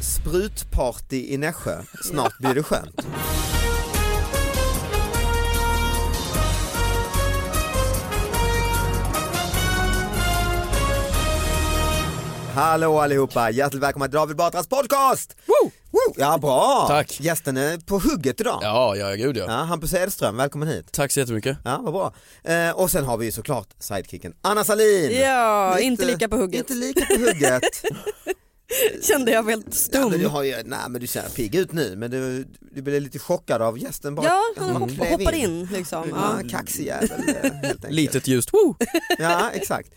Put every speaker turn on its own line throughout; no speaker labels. Sprutparty i Nässjö. Snart blir det skönt. Hallå allihopa, hjärtligt välkomna till David Batras podcast! Woo! Woo! Ja, bra!
Tack.
Gästen är på hugget idag.
Ja, ja gud ja.
Ja, Hampus Edström, välkommen hit.
Tack så jättemycket.
Ja, vad bra. Eh, och sen har vi ju såklart sidekicken Anna Salin.
Ja, inte lika på hugget.
Inte lika på hugget.
Kände jag mig helt
Ja,
stum.
men du har ju, nej men du ser pigg ut nu men du, du blev lite chockad av gästen bara.
Ja,
som
han hoppa,
klev
hoppar in liksom.
Ja,
Ja.
kaxig jävel eh, helt enkelt.
Litet ljust, woo!
Ja, exakt.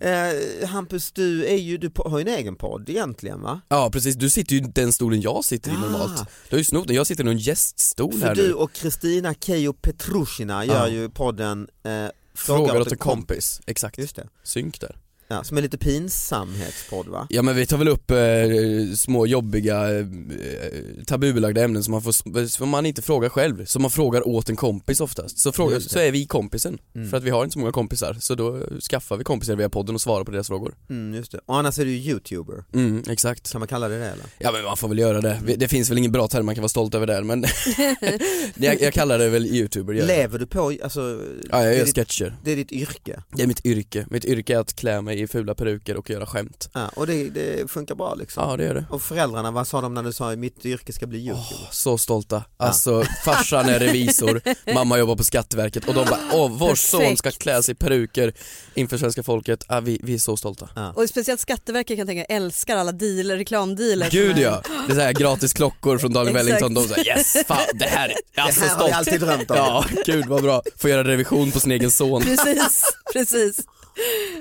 Eh, Hampus, du, är ju, du po- har ju en egen podd egentligen va?
Ja precis, du sitter ju i den stolen jag sitter i
Ja.
normalt. Du har ju snott den, jag sitter i någon gäststol
För
här
du
nu.
och Kristina Keijo Petrushina gör
Ja.
ju podden eh,
Frågar åt en kompis, exakt.
Just det.
Synk där.
Ja, som är lite pinsamhetspodd va?
Ja men vi tar väl upp eh, små jobbiga eh, tabubelagda ämnen som man, får, som man inte frågar själv, som man frågar åt en kompis oftast. Så, frågar,
Just det.
så är vi kompisen,
Mm.
för att vi har inte så många kompisar, så då skaffar vi kompisar via podden och svarar på deras frågor.
Mm, just det. Och annars är du ju youtuber,
Mm, exakt.
kan man kalla det det eller?
Ja men man får väl göra det, Vi- det finns väl ingen bra term man kan vara stolt över där men jag, jag kallar det väl youtuber, gör jag.
Lever du på, alltså,
Ja,
det, är
jag gör
ditt,
sketcher.
det är ditt yrke?
Det är mitt yrke. Mitt yrke är att klä mig i fula peruker och göra skämt.
Ja, och det, det funkar bra liksom?
Ja, det gör det.
Och föräldrarna, vad sa de när du sa mitt yrke ska bli youtube?
Så stolta. Alltså, farsan är revisor, mamma jobbar på Skatteverket och de bara åh, vår son ska klä sig i peruker inför svenska folket. Ah, vi, vi är så stolta.
Och speciellt Skatteverket kan jag tänka älskar alla dealer, reklamdealer.
Gud ja! Det är såhär gratis klockor från Daniel
Exakt.
Wellington, de säger yes, fan det här, jag är
det
så
här har
stolt.
jag alltid drömt om.
Ja, gud vad bra. Får göra revision på sin egen son.
Precis, precis.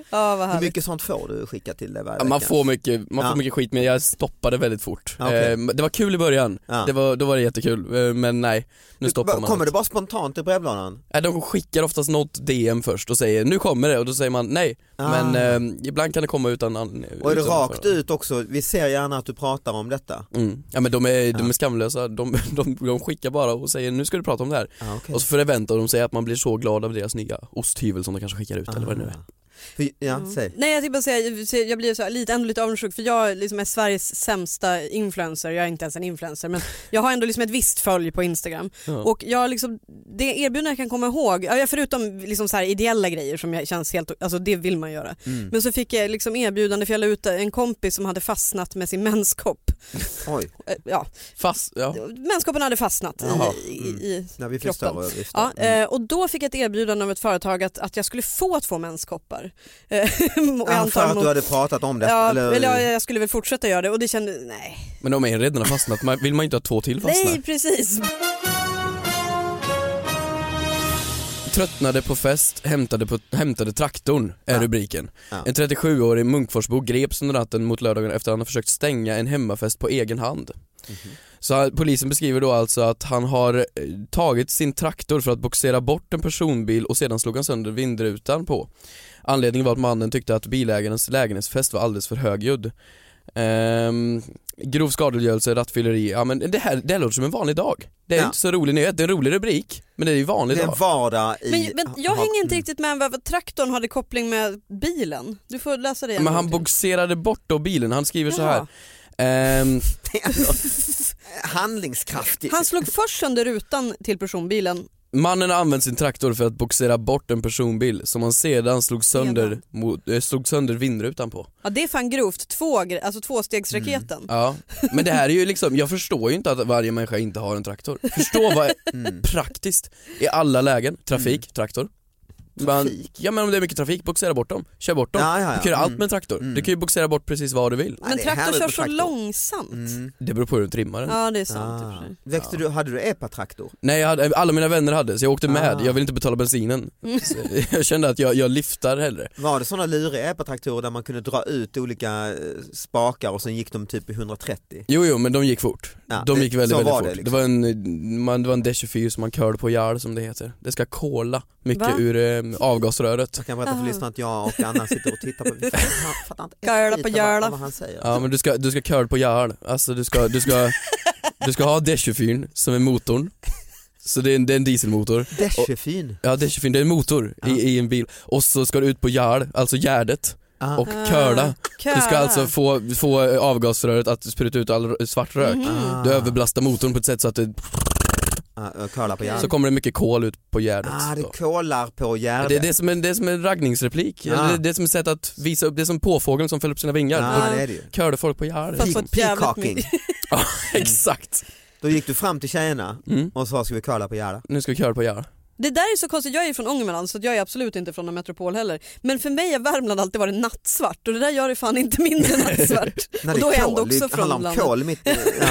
Ja, vad
Hur
härligt.
mycket sånt får du skicka till dig varje
Ja, Man
vecka?
får mycket, man
Ja.
får mycket skit men jag stoppade väldigt fort.
Ja, okej.
Eh, Det var kul i början,
Ja.
det var, då var det jättekul eh, men nej, nu stoppar man
Kommer
allt.
det bara spontant i brevlådan?
Nej, De skickar oftast något DM först och säger nu kommer det och då säger man nej
Ah.
men eh, ibland kan det liksom komma utan an-
Och är det
utan
rakt
förhand.
ut också? Vi ser gärna att du pratar om detta.
Mm. Ja men de är, de
Ja.
är skamlösa, de, de, de skickar bara och säger nu ska du prata om det här
Ah, okay.
och så förväntar de sig att man blir så glad av deras nya osthyvel som de kanske skickar ut eller vad det
Ah.
nu är.
För, ja,
Mm.
säg.
Nej jag tänkte bara säga, så jag blir så här, lite, ändå lite avundsjuk för jag liksom är Sveriges sämsta influencer, jag är inte ens en influencer men jag har ändå liksom ett visst följ på Instagram
Ja.
och jag liksom, det erbjudande jag kan komma ihåg, ja, jag- förutom liksom så här ideella grejer som jag känns helt, alltså det vill man göra,
Mm.
men så fick jag liksom erbjudande för jag la ut en kompis som hade fastnat med sin menskopp.
Oj,
Eh, Ja,
Fast, ja.
menskoppen hade fastnat
Jaha,
i, i, i
när Mm. vi
Kroppen.
förstår. vi Mm. förstår.
Ja, eh, och då fick jag ett erbjudande av ett företag att, att jag skulle få två menskoppar. Eh, och jag
Ah,
antar
för att
mot-
du hade pratat om detta?
Ja,
eller?
eller... jag, jag skulle väl fortsätta göra det och det kände, nej.
Men om en redan har fastnat, man- vill man ju inte att två till fastnar.
Nej precis.
Tröttnade på fest, hämtade, på, hämtade traktorn är
Ja.
rubriken.
Ja.
En 37-årig Munkforsbo greps under natten mot lördagen efter att han har försökt stänga en hemmafest på egen hand.
Mhm.
Så han- polisen beskriver då alltså att han har eh, tagit sin traktor för att boxera bort en personbil och sedan slog han sönder vindrutan på. Anledningen var att mannen tyckte att bilägarens lägenhetsfest var alldeles för högljudd. Ehm, grov skadegörelse, rattfylleri, ja men det här, det här låter som en vanlig dag. Det är
Ja.
inte så rolig nyhet, det är en rolig rubrik, men det är ju vanlig
Det är en
dag.
vardag i...
Men, men jag
ha-
hänger inte riktigt med vad vad traktorn hade koppling med bilen. Du får läsa det. en
Men
gång
han
till.
boxerade bort då bilen, han skriver så här.
Jaha.
Ehm,
Det är ändå handlingskraftigt.
Han slog först sönder rutan till personbilen.
Mannen har använt sin traktor för att boxera bort en personbil som han sedan slog sönder,
Sedan.
mot, eh, slog sönder vindrutan på.
Ja, det är fan grovt. Två, gre- alltså tvåstegsraketen.
Mm.
Ja. Men det här är ju liksom, jag förstår ju inte att varje människa inte har en traktor. Förstå vad
Mm.
praktiskt i alla lägen, trafik, traktor. Man, ja men om det är mycket trafik, boxera bort dem, kör bort dem.
Ja, ja, ja.
Du kan göra allt
Mm.
med en traktor, du kan ju boxera bort precis vad du vill.
Ja,
Men
det är
traktorn
härligt
kör
med
så
traktor. Mm.
långsamt.
Det beror på hur du trimmar den.
Ja det är sant. i och
Ah.
för sig.
Växte du, hade du epatraktor?
Nej, jag hade, alla mina vänner hade så jag åkte med,
Ah. Mm.
jag ville inte betala bensinen. Så jag kände att jag, jag liftar hellre.
Var det sådana luriga epatraktorer där man kunde dra ut olika eh, spakar och sen gick de typ i 130?
Jo, jo men de gick fort.
Ja,
de
det-
gick väldigt,
så
väldigt
var
fort.
det
Det,
liksom.
var en, man, det var en D24 som man körde på ihjäl som det heter. Det ska kola mycket
Va?
ur eh, avgasröret.
Jag kan berätta för
Aha.
lyssnarna att jag och Anna sitter och tittar på vi fattar- fattar inte ett
Göla
skit
på
av
göla.
vad- av vad han säger.
Ja men du ska, du ska köra på ihjäl. Alltså du ska, du ska, du ska ha D24 som är motorn. Så det är en, det är en dieselmotor.
Deschefin.
Ja D24 det är en motor i, i en bil. Och så ska du ut på ihjäl, alltså gärdet.
Ah.
Och curla. Du ska
Curla.
alltså få, få avgasröret att spruta ut all r- svart rök.
Mhm.
Du överbelastar motorn på ett sätt så att det,
Ah, Kolla på
så
hjärnan.
kommer det mycket kol ut på gärdet.
Ah, det
då.
kolar på
Det är
gärdet.
det som en, det är som en raggningsreplik,
Ja.
Eller det, det är som ett sätt att visa upp, det är som påfågeln som fäller upp sina vingar.
Ja,
Då
Ah, det är det ju.
Körde folk på gärdet.
Fast- på ett jävligt
Peacocking.
Ja, exakt.
Då gick du fram till tjejerna
Mm.
och sa ska vi kolla på gärdet?
Nu ska vi köra på gärdet.
Det där är så konstigt, jag är från Ångermanland så att jag är absolut inte från en metropol heller. Men för mig har Värmland alltid varit nattsvart och det där gör det fan inte mindre nattsvart. och
Nej, det
då är jag ändå
kol.
också
det handlar
från
om
landet.
kol mitt i- ja.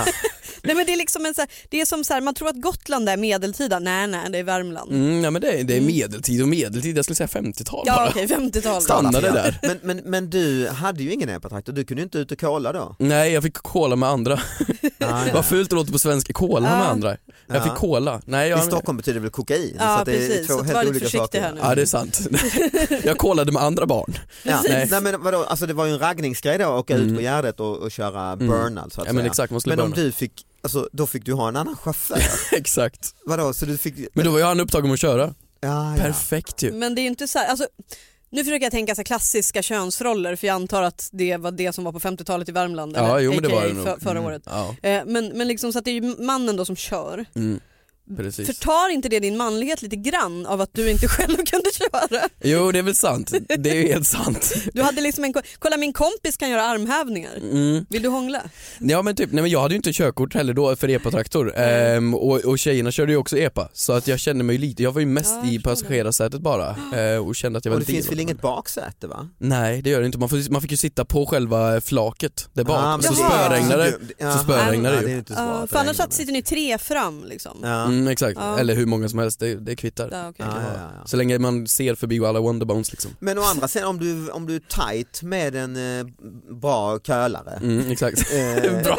Nej, men det är liksom en så här, det är som så här, man tror att Gotland är medeltida, nej nej det är Värmland.
Mm, nej, men det, är- det är medeltid och medeltid, jag skulle säga 50-tal
Ja
bara.
okej, 50-talet.
Stannade där.
Men, men, men du hade ju ingen epatraktor, du kunde ju inte ut och kola då.
Nej jag fick kola med andra.
Ah,
Vad fult det låter på svenska, kola med
Ja.
andra. Jag fick
Ja.
kola. Nej,
I
jag,
Stockholm betyder det väl kokain?
Ja
så att det är
precis,
två
så att
helt
var lite
olika
försiktig
saker.
här nu.
ja det är sant. jag kolade med andra barn.
Ja.
Nej. Mm.
Nej. men vadå, alltså det var ju en raggningsgrej då att åka ut på Gärdet och, och köra burn alltså. Att
Ja, men
säga.
exakt, man skulle
men om
burna.
du fick, alltså, då fick du ha en annan chaufför.
exakt.
vadå, så du fick,
Men då var jag upptagen med att köra.
ja, Mm. ja.
Perfekt ju.
Men det är ju inte så här, alltså, nu försöker jag tänka så här klassiska könsroller för jag antar att det var det som var på 50-talet i Värmland,
Ja,
eller
jo men det
aka
var det nog. Mm.
för, förra året.
Ja,
Eh, Men, men liksom så att det är ju mannen då som kör.
mm. precis.
Förtar inte det din manlighet lite grann av att du inte själv kunde köra?
Jo det är väl sant, det är ju helt sant.
Du hade liksom en, ko- kolla min kompis kan göra armhävningar.
Mm.
Vill du hångla?
Ja men typ, nej men jag hade ju inte körkort heller då för epatraktor ehm, och, och tjejerna körde ju också epa så att jag kände mig lite, jag var ju mest
Ja, jag
i
förstår det.
passagerarsätet bara eh, och kände att jag var
Och det
lite
finns
i
väl
dem.
inget baksäte va?
Nej det gör det inte, man, får, man fick ju sitta på själva flaket där bak
Ah,
och
men
så
det-
spöregnade det.
Jaha.
så spöregnade
ja,
det ju.
det. är ju inte så bra
Ja,
att
för annars
regna
att sitter ni tre fram liksom.
med. Ja.
Mm, exakt,
Ja.
eller hur många som helst, det, det är kvittar.
Ja, okej.
Ja, ja, ja.
Så länge man ser förbi alla wonderbones liksom.
Men å andra sidan om du, om du är tight med en eh, bra kölare
Mm, exakt.
eh,
Bra.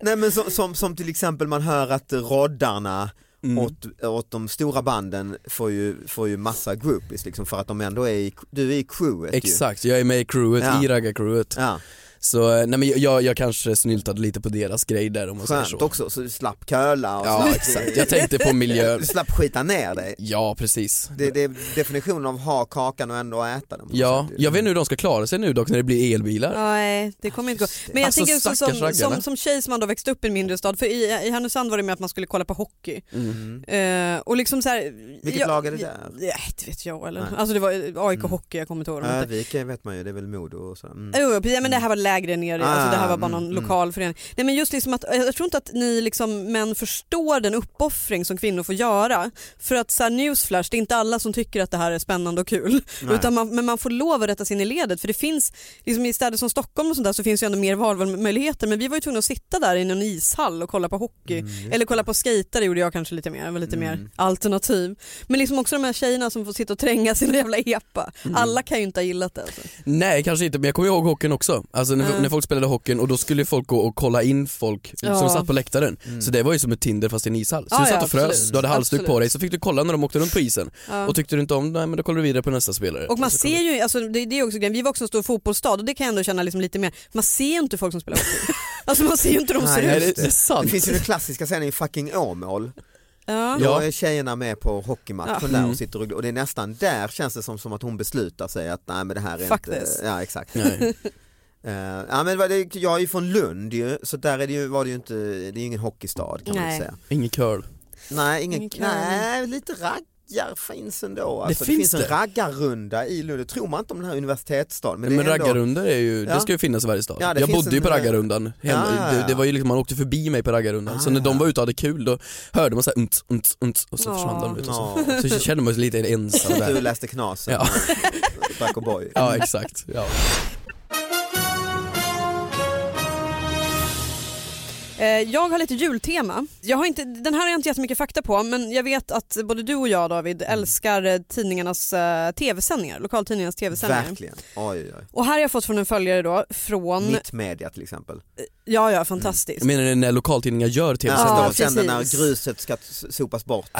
Nej men som, som, som till exempel man hör att roddarna
Mm.
åt, åt de stora banden får ju, får ju massa groupies liksom för att de ändå är i, du är i crewet ju.
Exakt, jag är med i crewet,
Ja.
i raggarcrewet.
Ja,
Så eh, nej men jag, jag kanske snyltade lite på deras grej där om man säger
skönt
så.
också, så du slapp köla och
Ja
slapp,
exakt, jag tänkte på miljön.
du slapp skita ner dig.
Ja precis.
Det, det är definitionen av ha kakan och ändå äta den. på
Ja,
något sätt ju.
jag vet inte hur de ska klara sig nu dock när det blir elbilar.
Nej, det kommer inte gå. Men jag
Alltså,
tänker också
stackars
som,
raggarna.
som, som tjej som ändå växt upp i en mindre stad, för i, i Härnösand var det med att man skulle kolla på hockey.
Mm-hmm.
Eh, och liksom så här,
Vilket
jag,
lag är det där?
Nej, det vet jag eller?
Nej.
Alltså det var AIK
Mm.
Hockey, jag kommer inte ihåg vad de hette.
Övik vet man ju, det är väl Modo och så. Mm.
Jo, jo, precis. ja, men det här var lägre ner, alltså det här var bara
Ah,
någon
mm,
lokal förening. Nej, men just liksom att, jag tror inte att ni liksom män förstår den uppoffring som kvinnor får göra. För att så här, newsflash, det är inte alla som tycker att det här är spännande och kul.
Nej.
Utan man, men man får lov att rätta sig in i ledet för det finns, liksom i städer som Stockholm och sånt där så finns ju ändå mer valmöjligheter. Men vi var ju tvungna att sitta där i någon ishall och kolla på hockey.
Mm,
Eller kolla på skejtare gjorde jag kanske lite mer, jag var lite mer alternativ. Men liksom också de här tjejerna som får sitta
Mm.
och tränga sina jävla epa. Alla kan ju inte ha gillat det. Alltså.
Nej kanske inte men jag kommer ihåg hockeyn också. Alltså när,
Ja.
när folk spelade hockeyn och då skulle ju folk gå och kolla in folk som
Ja.
satt på läktaren.
Mm.
Så det var ju som ett Tinder fast i en ishall. Så
Ja,
du satt
ja,
och frös,
absolut.
du hade halsduk på
Absolut.
dig, så fick du kolla när de åkte runt på isen.
Ja.
Och tyckte du inte om nej men då kollar du vidare på nästa spelare.
Och man
så kollar
ser ju, alltså, det, det är också grejen, vi var också en stor fotbollsstad och det kan jag ändå känna liksom lite mer, man ser ju inte folk som spelar hockey. alltså man ser ju inte hur de
Nej,
ser
du.
ut.
just
Nej, det, det är sant.
Det finns ju den klassiska scenen i fucking Åmål.
Ja.
Då
Ja. Mm.
är tjejerna med på hockeymatchen
Ja.
där och sitter och, och det är nästan där känns det som, som att hon beslutar sig att nej men det här är
Fuck
inte,
this.
ja exakt.
Nej.
Eh, ja, men vad det, jag är ju från Lund ju, så där är det ju, var det ju inte, det är ju ingen hockeystad kan man
Nej.
ju säga.
Ingen curl.
Nej, ingen,
Ingen curling.
nej lite raggar finns ändå. Alltså, det, finns
finns det.
en raggarrunda i Lund, det tror man inte om den här universitetsstaden. Men,
Men,
det är ändå,
raggarrundor är ju,
Ja.
det ska ju finnas i varje stad.
Ja, det
jag
finns
bodde ju på
en- Ah,
raggarrundan hemma.
Ja, ja, ja.
Det, det var ju liksom, man åkte förbi mig på raggarrundan. så
Ah,
när de
ja.
var ute och hade kul då hörde man såhär unt, unt, unt och så
Ja.
försvann de ut och så.
Ja,
Så kände man sig lite ensam
Ah. du
där.
läste Knasen
Ja.
och drack O'boy.
Ja exakt. Ja.
Eh, Jag har lite jultema. Jag har inte, den här har jag inte jättemycket fakta på men jag vet att både du och jag David älskar eh, tidningarnas eh, tv-sändningar, lokaltidningarnas tv-sändningar.
Verkligen, oj oj.
Och här har jag fått från en följare då från,
Mitt media till exempel.
ja ja fantastiskt.
Menar du när lokaltidningar gör tv-sändningar?
Ja,
Ja,
och sen
precis.
när gruset ska s- sopas bort.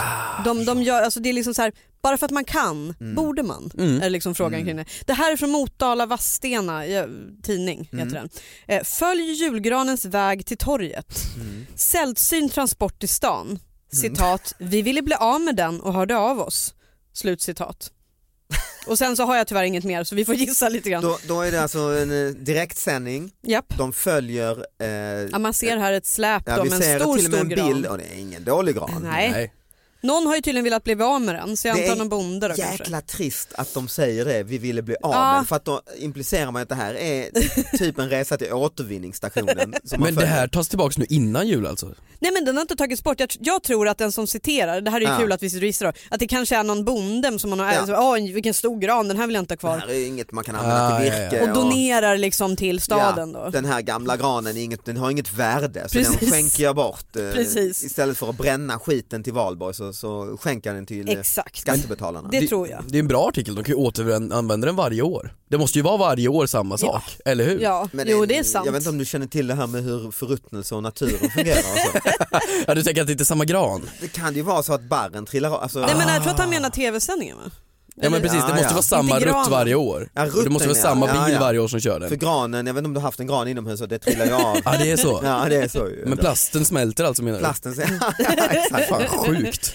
De, de gör, alltså det är liksom så här, bara för att man kan,
Mm.
borde man? Är liksom frågan kring det. Det här är från Motala Vadstena eh, tidning.
Mm.
Heter den. Eh, följ julgranens väg till torget.
Mm.
Sällsynt transport till stan. Citat, vi ville bli av med den och hörde av oss. Slut citat. Och sen så har jag tyvärr inget mer så vi får gissa lite grann.
Då, då är det alltså en eh, direktsändning,
Japp.
de följer, eh,
Ja, man ser här ett släp
ja,
då
vi
med en
ser
stor,
till och
stor
med en bild,
gran.
och det är ingen dålig gran.
Nej. Någon har ju tydligen velat bli av med den så jag
Det
antar
är
någon bonde då kanske.
Jäkla trist att de säger det, vi ville bli av
Ja.
med, för att då implicerar man att det här är typ en resa till återvinningsstationen. Som man
Men det
följer.
här tas tillbaks nu innan jul alltså?
Nej men den har inte tagits bort. Jag, jag tror att den som citerar, det här är ju
Ja.
kul att vi sitter och gissar då, att det kanske är någon bonde som man har,
Ja.
alltså, åh vilken stor gran, den här vill jag inte ha
det här
kvar.
är inget man kan använda
Ah,
till
ja, ja.
virke.
Och donerar liksom till staden
ja,
då.
Den här gamla granen är inget, den har inget värde så den
Precis.
skänker jag bort. eh,
Precis.
Istället för att bränna skiten till valborg så, så skänker jag den till eh,
Exakt.
skattebetalarna.
Det tror jag.
Det är en bra artikel, de kan ju återanvända den varje år. Det måste ju vara varje år samma sak, eller hur?
Ja,
Men
jo det är sant.
Jag vet inte om du känner till det här med hur förruttnelse och naturen fungerar. och så.
Ja, du tänker att det inte är samma gran?
Det kan ju vara så att barren trillar av. Alltså,
Nej men jag tror att han menar tv-sändningen va?
Ja men precis,
Ja,
det måste
ja.
vara samma
Inte granen.
rutt varje år.
Ja,
det
rutten,
måste vara samma
ja. Ja,
bil
ja.
varje år som kör den.
För granen, jag vet inte om du har haft en gran inomhus och det trillar ju av.
Ja det är så.
Ja det är så ju.
Men plasten smälter alltså menar du?
Plasten säger, ja, exakt.
Fan sjukt.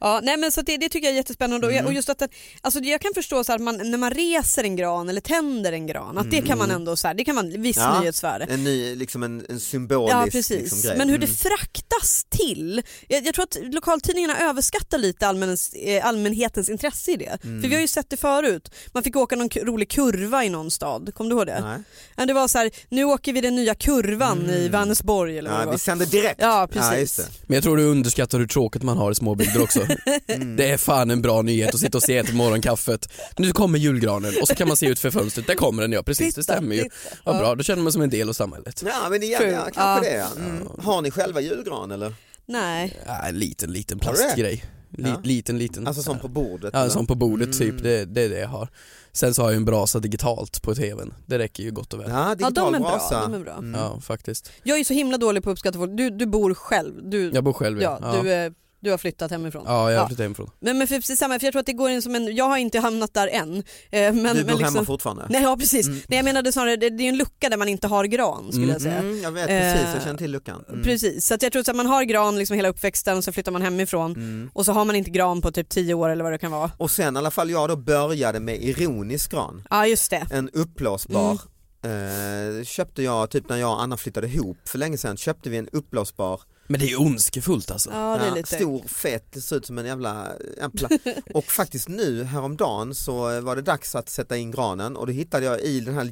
Ja, nej men så att det, det tycker jag är jättespännande och, jag,
Mm.
och just att den, alltså jag kan förstå så här att man, när man reser en gran eller tänder en gran att det kan man ändå så här, det kan vara en viss
Mm. Ja,
nyhetsvärde.
En ny, liksom en, en symbolisk
Ja precis,
liksom, grej.
men hur
Mm.
det fraktas till. Jag, jag tror att lokaltidningarna överskattar lite allmänhetens, eh, allmänhetens intresse i det. För vi har ju sett det förut. Man fick åka någon k- rolig kurva i någon stad, kommer du ihåg det?
Nej.
Ja, det var så här, nu åker vi den nya kurvan i Vänersborg eller vad det
Ja,
var.
vi sänder direkt.
Ja, precis.
just det.
Men jag tror du underskattar hur tråkigt man har i småbygder också.
Mm.
Det är fan en bra nyhet att sitta och se till morgonkaffet. Nu kommer julgranen och så kan man se ut för fönstret, där kommer den ja precis det
Titta,
stämmer ju.
titta.
Vad bra, då känner man sig som en del av samhället.
Ja men igen, ja, kanske det ja. Mm. Har ni själva julgran eller?
Nej.
Ja, en liten, liten
Har du
plastgrej. Li-
Ja.
Liten, liten.
Alltså som på bordet? Mm.
Ja,
eller?
som på bordet typ, det, det är det jag har. Sen så har jag ju en brasa digitalt på tvn, det räcker ju gott och väl.
Ja,
Ja,
digital
de är bra.
brasa.
De är bra.
Mm. Ja faktiskt.
Jag är så himla dålig på att uppskatta folk. Du, du bor själv. Du,
Jag bor själv
ja,
ja.
Du är Du har flyttat hemifrån?
Ja, jag flyttade hemifrån.
Men, men för precis samma, för jag tror att det går in som en, jag har inte hamnat där än. Eh, Men,
Du
men liksom-
bor hemma fortfarande?
Nej, ja precis.
Mm.
Nej, jag menade snarare, det, det är ju en lucka där man inte har gran skulle jag säga.
Mm, jag vet precis, jag
Eh,
känner till luckan. Mm.
Precis, så att jag tror att man har gran liksom hela uppväxten och sen flyttar man hemifrån
Mm.
och så har man inte gran på typ 10 år eller vad det kan vara.
Och sen i alla fall jag då började med ironisk gran,
Ja just det.
en uppblåsbar.
Mm.
Eh, köpte jag, typ när jag och Anna flyttade ihop för länge sedan, köpte vi en uppblåsbar
Men det är ju ondskefullt alltså.
Ja, det är
Ja,
lite.
Stor, fet, det ser ut som en jävla äppla. och faktiskt nu häromdagen så var det dags att sätta in granen och då hittade jag i den här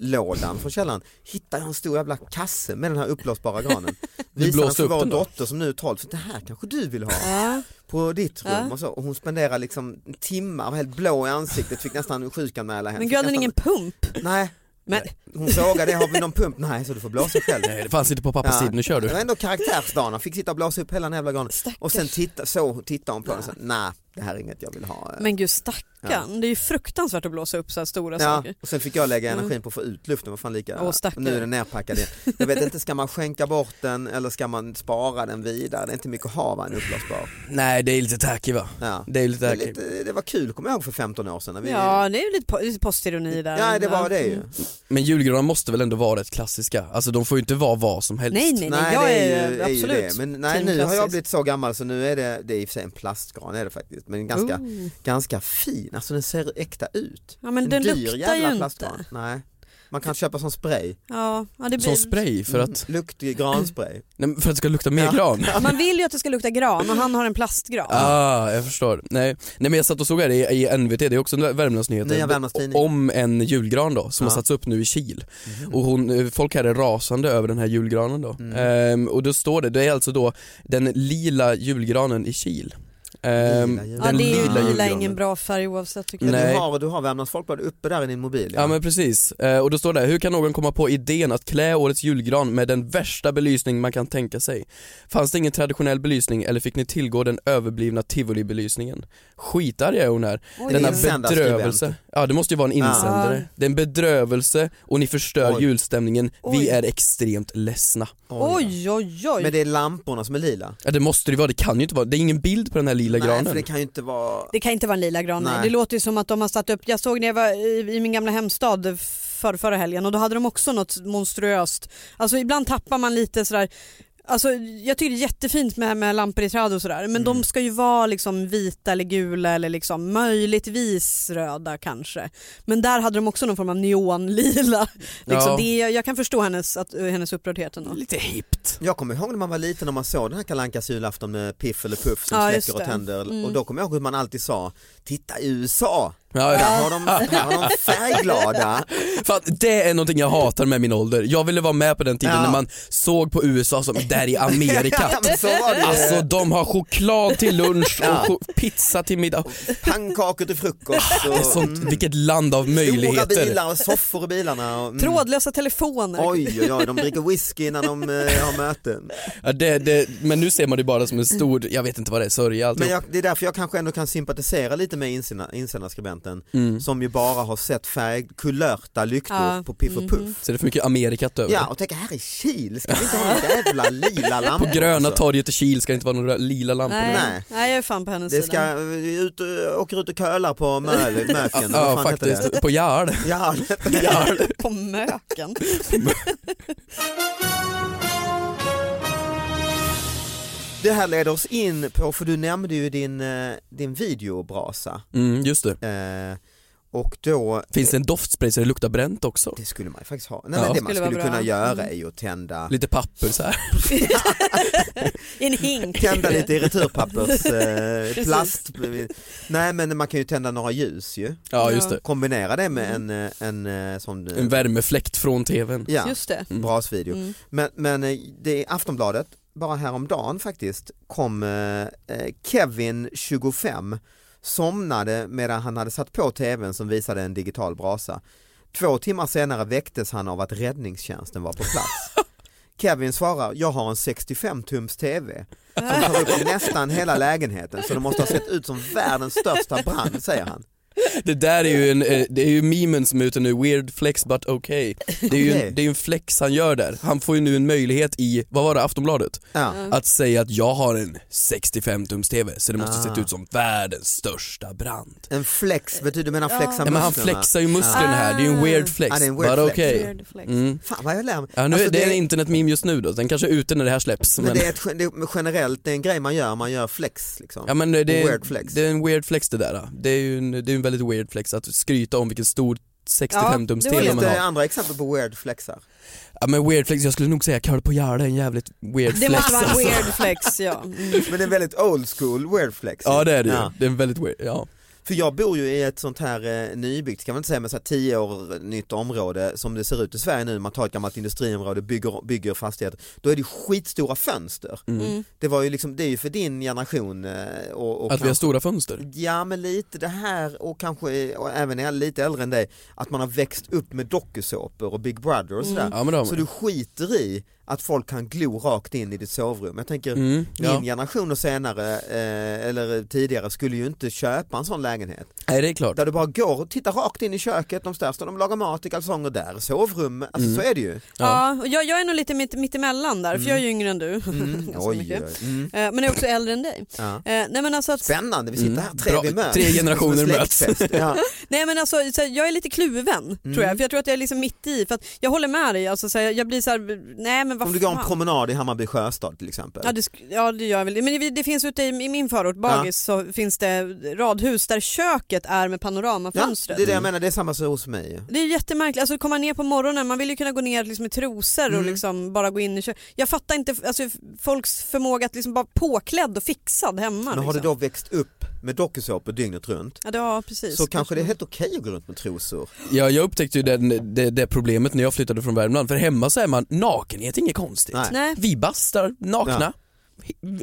jullådan från källaren, hittade jag en stor jävla kasse med den här uppblåsbara granen. Visade den
blåste
för
upp
vår
den då?
dotter som nu är 12, så det här kanske du vill ha
Ja.
på ditt rum
Ja.
och så. Och hon spenderade liksom timmar, var helt blå i ansiktet, fick nästan sjukanmäla henne.
Men gud hade ni
Fick
ingen pump?
nästan... Nej,
Men
hon frågade, har vi någon pump? Nej, så du får blåsa själv.
Nej det fanns inte på pappas tid, nu kör
Det var
du.
ändå karaktärsdagen, fick sitta och blåsa upp hela den jävla granen.
Stackars.
Och sen titta, så tittar hon på den och sa, nej det här är inget jag vill ha.
Men gud stackarn, det är ju fruktansvärt att blåsa upp så här stora
Ja,
saker.
och sen fick jag lägga
Mm.
energin på att få ut luften, vad fan lika,
Åh, stackare.
nu är den nerpackad igen. Jag vet inte, ska man skänka bort den eller ska man spara den vidare? Det är inte mycket att ha va, en uppblåsbar.
Nej det är lite tacky va?
Ja.
Det är lite
Men
tacky.
lite, det var kul kommer jag ihåg för 15 år sedan. När vi...
Ja det är ju lite po- lite postironi där.
ja, det var det ju.
Mm.
Men julgranar måste väl ändå vara rätt klassiska? Alltså de får ju inte vara vad som helst.
Nej nej nej,
Nej,
jag
det
är,
är ju,
absolut
är ju det. Men nej,
team
nu har jag
klassiskt.
blivit så gammal så nu är det, det är i och för sig en plastgran är det faktiskt, men ganska,
Ooh.
ganska fin, alltså den ser äkta ut.
Ja men
En
den
dyr
luktar
jävla
ju
plastgran.
inte.
Nej. Man kan köpa som spray,
Ja, ja, det blir... Mm.
Som spray för att,
lukt granspray.
nej, men för att det ska lukta mer
Ja.
gran.
Man vill ju att det ska lukta gran och han har en plastgran.
Ah, jag förstår. Nej. Nej men jag satt och såg här i, i NVT, det är också en Värmlandsnyheter,
Nya Värmlandstidning.
om en julgran då som
Ja. Mhm.
har satts upp nu i Kil. Och hon, eh, folk här är rasande över den här julgranen då.
Mm.
Ehm, och då står det, det är alltså då den lila julgranen i Kil. Ehm,
Lila jul-
ja, det är ju
lila
lila
julgranen.
ingen bra färg oavsett tycker
Ja,
jag.
Nej.
du har, du har Värmlands Folkblad uppe där i din mobil.
Ja men precis, Eh, och då står det här, hur kan någon komma på idén att klä årets julgran med den värsta belysning man kan tänka sig? Fanns det ingen traditionell belysning eller fick ni tillgå den överblivna tivolibelysningen? Skitarg är hon här,
Oj.
denna
Insändarskribent.
bedrövelse. Ja det måste ju vara en
Ja.
insändare. Det är en bedrövelse och ni förstör
Oj.
julstämningen,
Oj.
vi är extremt ledsna.
Oj oj oj.
Men det är lamporna som är lila.
Ja det måste det ju vara, det kan ju inte vara, det är ingen bild på den här lila
Nej, för
granen.
det kan ju inte vara...
Det kan inte vara en lila gran. Nej.
Nej.
Det låter ju som att de har satt upp, jag såg när jag var i, i min gamla hemstad för, förra helgen och då hade de också något monstruöst. Alltså ibland tappar man lite sådär Alltså, jag tycker det är jättefint med, med lampor i träd och sådär men de ska ju vara liksom vita eller gula eller liksom möjligtvis röda kanske. Men där hade de också någon form av neonlila. Liksom,
Ja.
det, jag kan förstå hennes, att, eh, hennes upprördhet ändå.
Lite hippt.
Jag kommer ihåg när man var liten och man såg den här Kalle Ankas julafton med Piff eller Puff som
Ja, just
släcker och
det.
tänder
Mm.
och då kommer jag ihåg hur man alltid sa, titta i USA,
Ja, ja.
där har de, där har de färgglada.
Fan, det är någonting jag hatar med min ålder. Jag ville vara med på den tiden
Ja.
när man såg på USA som där i Amerika.
Ja, men så var det ju.
Alltså de har choklad till lunch och
Eh. Ja.
cho- pizza till middag.
Pannkakor till frukost
Det är
och
sånt,
mm,
vilket land av
stora
möjligheter.
bilar och soffor i bilarna. Och, mm.
Trådlösa telefoner.
Oj, oj, oj, de dricker whisky innan de eh, har möten.
Ja, det, det, men nu ser man det bara som en stor, jag vet inte vad det är, sörja
Men
alltihop.
jag, det är därför jag kanske ändå kan sympatisera lite med insända- insändarskribenten
Mm.
som ju bara har sett färg, kulörta lyktor
Ja,
på Piff och Puff.
Så det är för mycket Amerikat över.
Ja, och tänka här i Kil, ska vi inte ha en jävla lila
På
lampa?
gröna
också?
torget i Kil ska det inte vara några lila lampor.
Nej.
Nej.
Nej. jag är fan på hennes
Det
sida.
ska, vi ut, och- åker ut och kölar på möl, möken, eller
Ja
vad fan heter
faktiskt,
det?
på Jarl.
Ja,
På möken.
det här leder oss in på, för du nämnde ju din, eh, din videobrasa
Mm, just det.
eh, och då
Finns det en doftspray så det luktar bränt också?
Det skulle man ju faktiskt ha. Nej,
Ja.
men det man
Skulle vara
skulle
bra. Mm.
kunna göra är ju att tända,
Lite papper så här.
I en hink.
tända lite i returpappers eh,
Precis.
plast. Nej men man kan ju tända några ljus ju.
Ja just det.
Kombinera det med en, eh, en, eh, sån eh,
Mm. En värmefläkt från tvn.
ja,
Just det.
brasvideo.
Mm.
Men, men eh, det är Aftonbladet, bara häromdagen faktiskt, kom eh, eh, Kevin 25 somnade medan han hade satt på tvn som visade en digital brasa. Två timmar senare väcktes han av att räddningstjänsten var på plats. Kevin svarar, jag har en 65 tums tv som tar upp nästan hela lägenheten så det måste ha sett ut som världens största brand, säger han.
Det där är ju en, eh, det är ju memen som är ute nu, weird flex but okay. Det är ju
Okej.
en, det är ju en flex han gör där. Han får ju nu en möjlighet i, vad var det, Aftonbladet?
Ja.
Att säga att jag har en 65 tums TV så det måste
Ah.
sett ut som världens största brand.
En flex, betyder du menar flexa musklerna? Ah.
Nej, men han flexar ju musklerna här, det är ju en weird flex.
Ja, det är en weird
but
flex.
okay.
Weird flex.
Mm.
Fan vad jag lär mig.
Ja, nu,
Alltså,
det är en internetmeme just nu då, den kanske är ute när det här släpps.
men det är ett, gen- det är generellt, det är en grej man gör, man gör flex liksom.
Ja men det, det,
Weird flex.
det är en weird flex det där. då. Det är ju en, det är en väldigt weird flex att skryta om vilken stor 65 tums
Ja, det var
TV
Finns
man har.
det andra exempel på weird flexar?
Ja men weird flex, jag skulle nog säga Karl på Gärde är en jävligt weird
Det
flex
måste vara en
alltså.
weird flex ja. Mm.
Men det är en väldigt old school weird flex.
Ja det är det ju,
Ja.
det är en väldigt weird, ja.
För jag bor ju i ett sånt här eh, nybyggt, ska man inte säga, men så här 10 år nytt område som det ser ut i Sverige nu, man tar ett gammalt industriområde, bygger, bygger fastigheter, då är det skitstora fönster.
Mm.
Det var ju liksom, det är ju för din generation eh, och, och
Att vi har
kanske-
stora fönster.
Ja men lite det här och kanske och även äl- lite äldre än dig, att man har växt upp med dokusåpor och Big Brother och sådär.
Ja men det har
Så
man.
du skiter i att folk kan glo rakt in i ditt sovrum. Jag tänker
Mm,
min
ja.
generation och senare eh, eller tidigare skulle ju inte köpa en sån lägenhet.
Nej det är klart.
Där du bara går och tittar rakt in i köket, de största, de lagar mat i kalsonger där, sovrum, alltså så är det ju.
Mm. Ja.
Ja, och jag, jag är nog lite mitt, mitt emellan där, för jag är ju yngre än du.
Mm.
Ganska
Oj,
mycket.
oj. Mm.
Eh, Men jag är också äldre än dig.
Ja.
Eh, Nej men alltså att
Spännande, vi sitter
Mm.
här tre,
Bra,
vi möts.
tre generationer
Som en
möts.
släktfest. Ja.
Nej men alltså så här, jag är lite kluven tror
Mm.
jag, för jag tror att jag är liksom mitt i, för att jag håller med dig, alltså, så här, jag blir så här, nej men vad
Om du går en
fan.
promenad i Hammarby sjöstad till exempel.
Ja det, sk- ja det gör jag väl, men det, det finns ute i, i min förort, Bagis, så finns det radhus där köket är med
Ja,
panoramafönstret.
det är det jag
Mm.
menar, det är samma sak hos mig.
Det är jättemärkligt, alltså komma ner på morgonen, man vill ju kunna gå ner liksom i trosor
Mm.
och liksom bara gå in i köket. Jag fattar inte alltså, f- folks förmåga att liksom bara påklädd och fixad hemma.
Men har du
liksom.
då växt upp med dokusåpor dygnet runt
Ja, det, ja precis.
så kanske det är helt okej att gå runt med trosor.
Ja, jag upptäckte ju den, det, det problemet när jag flyttade från Värmland, för hemma så är man, nakenhet är inget konstigt.
Nej.
Nej.
Vi bastar nakna.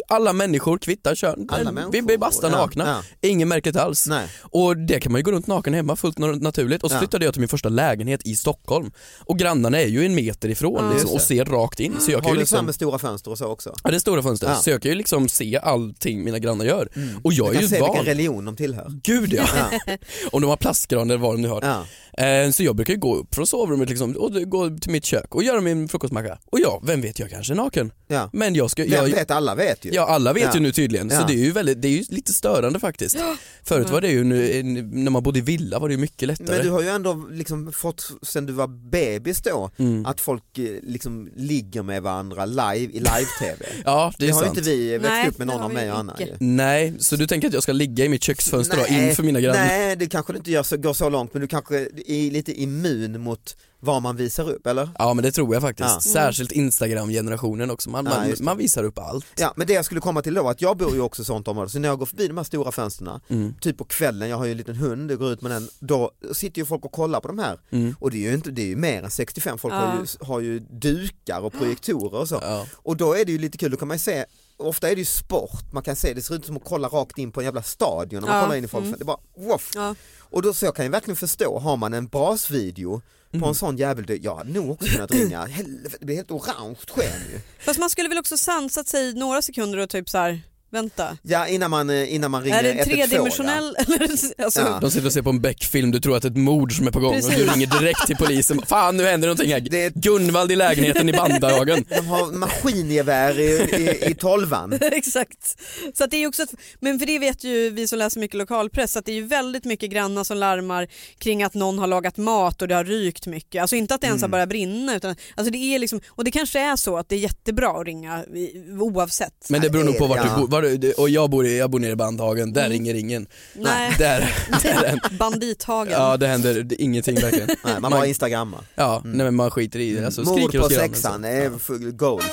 Alla människor kvittar kön.
Alla
vi,
människor.
vi bastar
Ja,
nakna. Inget märkligt alls.
Nej.
Och det kan man ju gå runt naken hemma fullt na- naturligt. Och så
Ja.
flyttade jag till min första lägenhet i Stockholm. Och grannarna är ju en meter ifrån liksom,
Just
och
det.
ser rakt in. Så jag kan
Har
ju
du
liksom...
samma med stora fönster och så också?
Ja det är stora fönster,
Ja.
så jag kan ju liksom se allting mina grannar gör. Och jag
Du
är
kan
ju
se vilken
van.
religion de tillhör.
Gud ja. Om de har plastgran eller vad de nu har.
Ja.
Eh, Så jag brukar ju gå upp från sovrummet liksom, och gå till mitt kök och göra min frukostmacka. Och ja, vem vet, jag kanske är naken.
Ja.
Men jag ska...
Vem
Jag,
vet, alla vet ju.
Ja alla vet
Ja.
ju nu tydligen,
Ja.
så det är ju, väldigt, det är ju lite störande faktiskt. Förut var det ju, nu, eh, när man bodde i villa var det ju mycket lättare.
Men du har ju ändå liksom fått, sen du var bebis då,
Mm.
att folk eh, liksom ligger med varandra live i live-tv.
Ja det
det
är
har ju
sant.
inte vi växt
Nej,
upp med
det
någon
har
av
vi
mig och Anna
icke.
ju.
Nej, så du tänker att jag ska ligga i mitt köksfönster och in för mina grannar?
Nej, det kanske du inte gör så, går så långt, men du kanske är lite immun mot vad man visar upp, eller?
Ja men det tror jag faktiskt,
Ja.
särskilt Instagram-generationen också, man,
Ja,
man,
just det.
man visar upp allt.
Ja, men det jag skulle komma till då, att jag bor ju också i sånt område, så när jag går förbi de här stora fönstren, typ på kvällen, jag har ju en liten hund, jag går ut med den, då sitter ju folk och kollar på de här. Och det är ju inte, det är ju mer än 65, folk har, ju, har ju dukar och projektorer och så.
Ja.
Och då är det ju lite kul, då kan man ju se, ofta är det ju sport, man kan se, det ser ut som att kolla rakt in på en jävla stadion, när man
Ja, Mm.
kollar in i folk, det är bara woff.
Ja.
Och då så jag kan ju verkligen förstå, har man en brasvideo på en sån jävel, det- jag hade nog också kunnat ringa, helvete, det blir helt orange sken ju.
Fast man skulle väl också sansat sig i några sekunder och typ så här, vänta.
Ja, innan man, eh, innan man ringer
är det
112, ja.
tredimensionell? Eller, alltså,
Ja.
De sitter och ser på en Beck-film, du tror att det är ett mord som är på gång och du
Precis.
ringer direkt till polisen, fan nu händer någonting här,
Det är-
Gunvald i lägenheten i Bandhagen.
De har maskingevär i, i, i tolvan.
Exakt. Så att det är ju också ett, men för det vet ju vi som läser mycket lokalpress att det är ju väldigt mycket grannar som larmar kring att någon har lagat mat och det har rykt mycket. Alltså inte att det ens
Mm.
har börjat brinna utan alltså det är liksom, och det kanske är så att det är jättebra att ringa i- oavsett.
Men det beror nog på vart
Ja. Mm.
du bor, var, du- och jag bor, i- jag bor nere i Bandhagen, där ringer ingen.
Nej.
Där, där, är-
Bandithagen.
ja det händer det, ingenting verkligen.
Nej, man bara instagrammar.
Ja, nej men man skiter i det, alltså,
Mm. Mord
skriker
på
hos grannen.
sexan är full goals.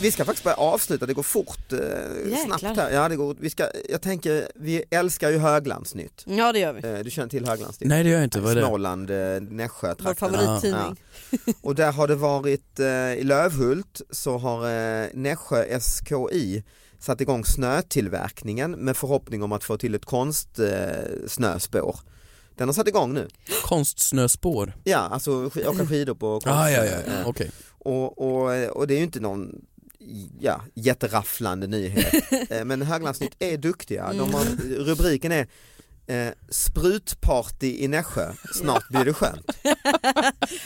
Vi ska faktiskt börja avsluta, det går fort, eh, snabbt här. Ja, det går, vi ska, jag tänker, vi älskar ju Höglandsnytt.
ja det gör vi.
Eh, du känner till Höglandsnytt?
Nej det gör jag inte, vad är det?
Småland, eh, Nässjö,
Vår favorittidning.
Och där har det varit, eh, i Lövhult så har eh, Nässjö SKI satt igång snötillverkningen med förhoppning om att få till ett konstsnöspår. Eh, snöspår. Den har satt igång nu.
Konstsnöspår.
Ja, alltså sk- åka skidor på konst.
Ah, ja, ja, ja. okej.
eh, och, och, och det är ju inte någon ja, jätterafflande nyhet. Eh, Men Höglandsnytt är duktiga. De har, rubriken är eh, Sprutparty i Nässjö, snart blir det skönt.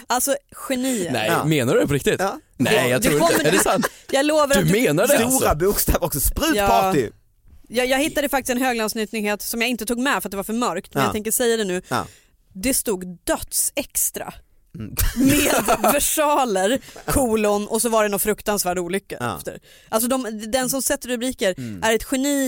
Alltså genier.
Nej,
Ja.
menar du det på riktigt?
Ja.
Nej jag
Du
tror inte,
kommer-
är det sant?
Jag lovar
Du
att du,
menar det
Stora
alltså?
bokstäver också, sprutparty!
jag, jag hittade faktiskt en höglandsnytt-nyhet som jag inte tog med för att det var för mörkt men
Ja.
jag tänker säga det nu.
Ja.
Det stod dödsextra
Mm.
med versaler, kolon och så var det någon fruktansvärd olycka
Ja. Mm.
efter. Alltså de, den som sätter rubriker är ett geni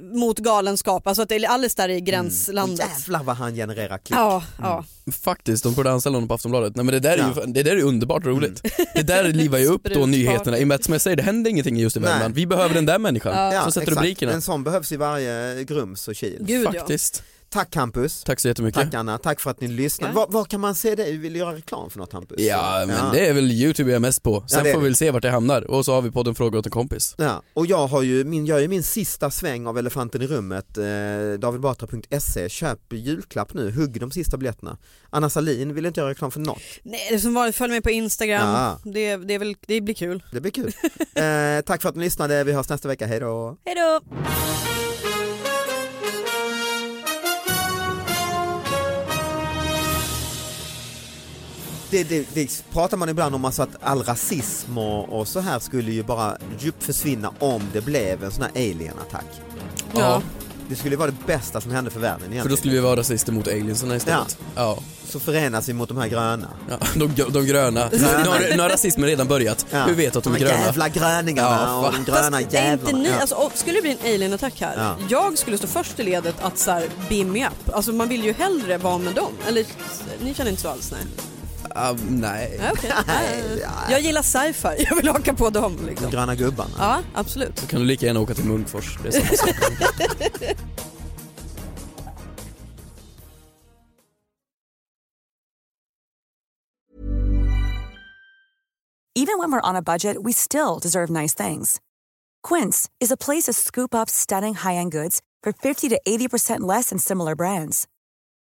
eh, mot galenskap, alltså att det är alldeles där i
Mm.
gränslandet.
Jävlar vad han genererar klick.
Ja, ja.
Faktiskt, de borde anställa honom på Aftonbladet. Nej men det där är ju,
Ja. Mm.
det där är underbart roligt. Det där livar ju upp då
Sprutparty.
nyheterna, i och med att som jag säger det händer ingenting just i
Nej.
Värmland. Vi behöver den där människan
Ja,
som sätter
exakt.
rubrikerna.
En sån behövs i varje Grums och Kil.
Gud ja.
Faktiskt.
Tack Campus.
Tack så jättemycket.
Tack Anna, tack för att ni lyssnade.
Ja.
Var, var kan man se dig? Vi vill göra reklam för något Hampus.
Ja men det är väl youtube jag är mest på, sen
det är
får vi
det.
väl se vart det hamnar och så har vi podden Fråga åt en kompis.
Ja, och jag har ju min, gör ju min sista sväng av elefanten i rummet, eh, davidbatra.se, köp julklapp nu, hugg de sista biljetterna. Anna Salin vill inte göra reklam för något,
Nej, det är som vanligt, följ mig på Instagram.
Ja.
Det, det, är väl, det blir kul.
det blir kul. eh, tack för att ni lyssnade, vi hörs nästa vecka, hej då!
Hej då!
Det, det, det pratar man ibland om alltså att all rasism och, och så här skulle ju bara djupt försvinna om det blev en sån här alien-attack.
Ja.
Det skulle ju vara det bästa som hände för världen egentligen.
För då skulle vi vara rasister mot aliensarna istället. Ja.
Så förenas vi mot de här gröna.
ja. De, gr- de gröna. Nu har- nu har rasismen redan börjat.
Ja.
Hur vet att de är
här
gröna?
Jävla gröningarna
Ja,
och
fan.
de gröna
Fast är inte
jävlarna.
ni,
Ja.
alltså, och, skulle det bli en alien-attack här,
Ja.
jag skulle stå först i ledet att så här, beam me up. Alltså man vill ju hellre vara med dem. Eller ni känner inte så alls nej?
Ah, nej.
Ja, okej. Nej. Jag gillar sci-fi, jag vill haka på dem
De
liksom.
gröna gubbarna.
Ja, absolut.
Kan du lika gärna åka till Munkfors? Det är samma sak.
Even when we're on a budget, we still deserve nice things. Quince is a place to scoop up stunning high end goods for 50 to 80% less than similar brands.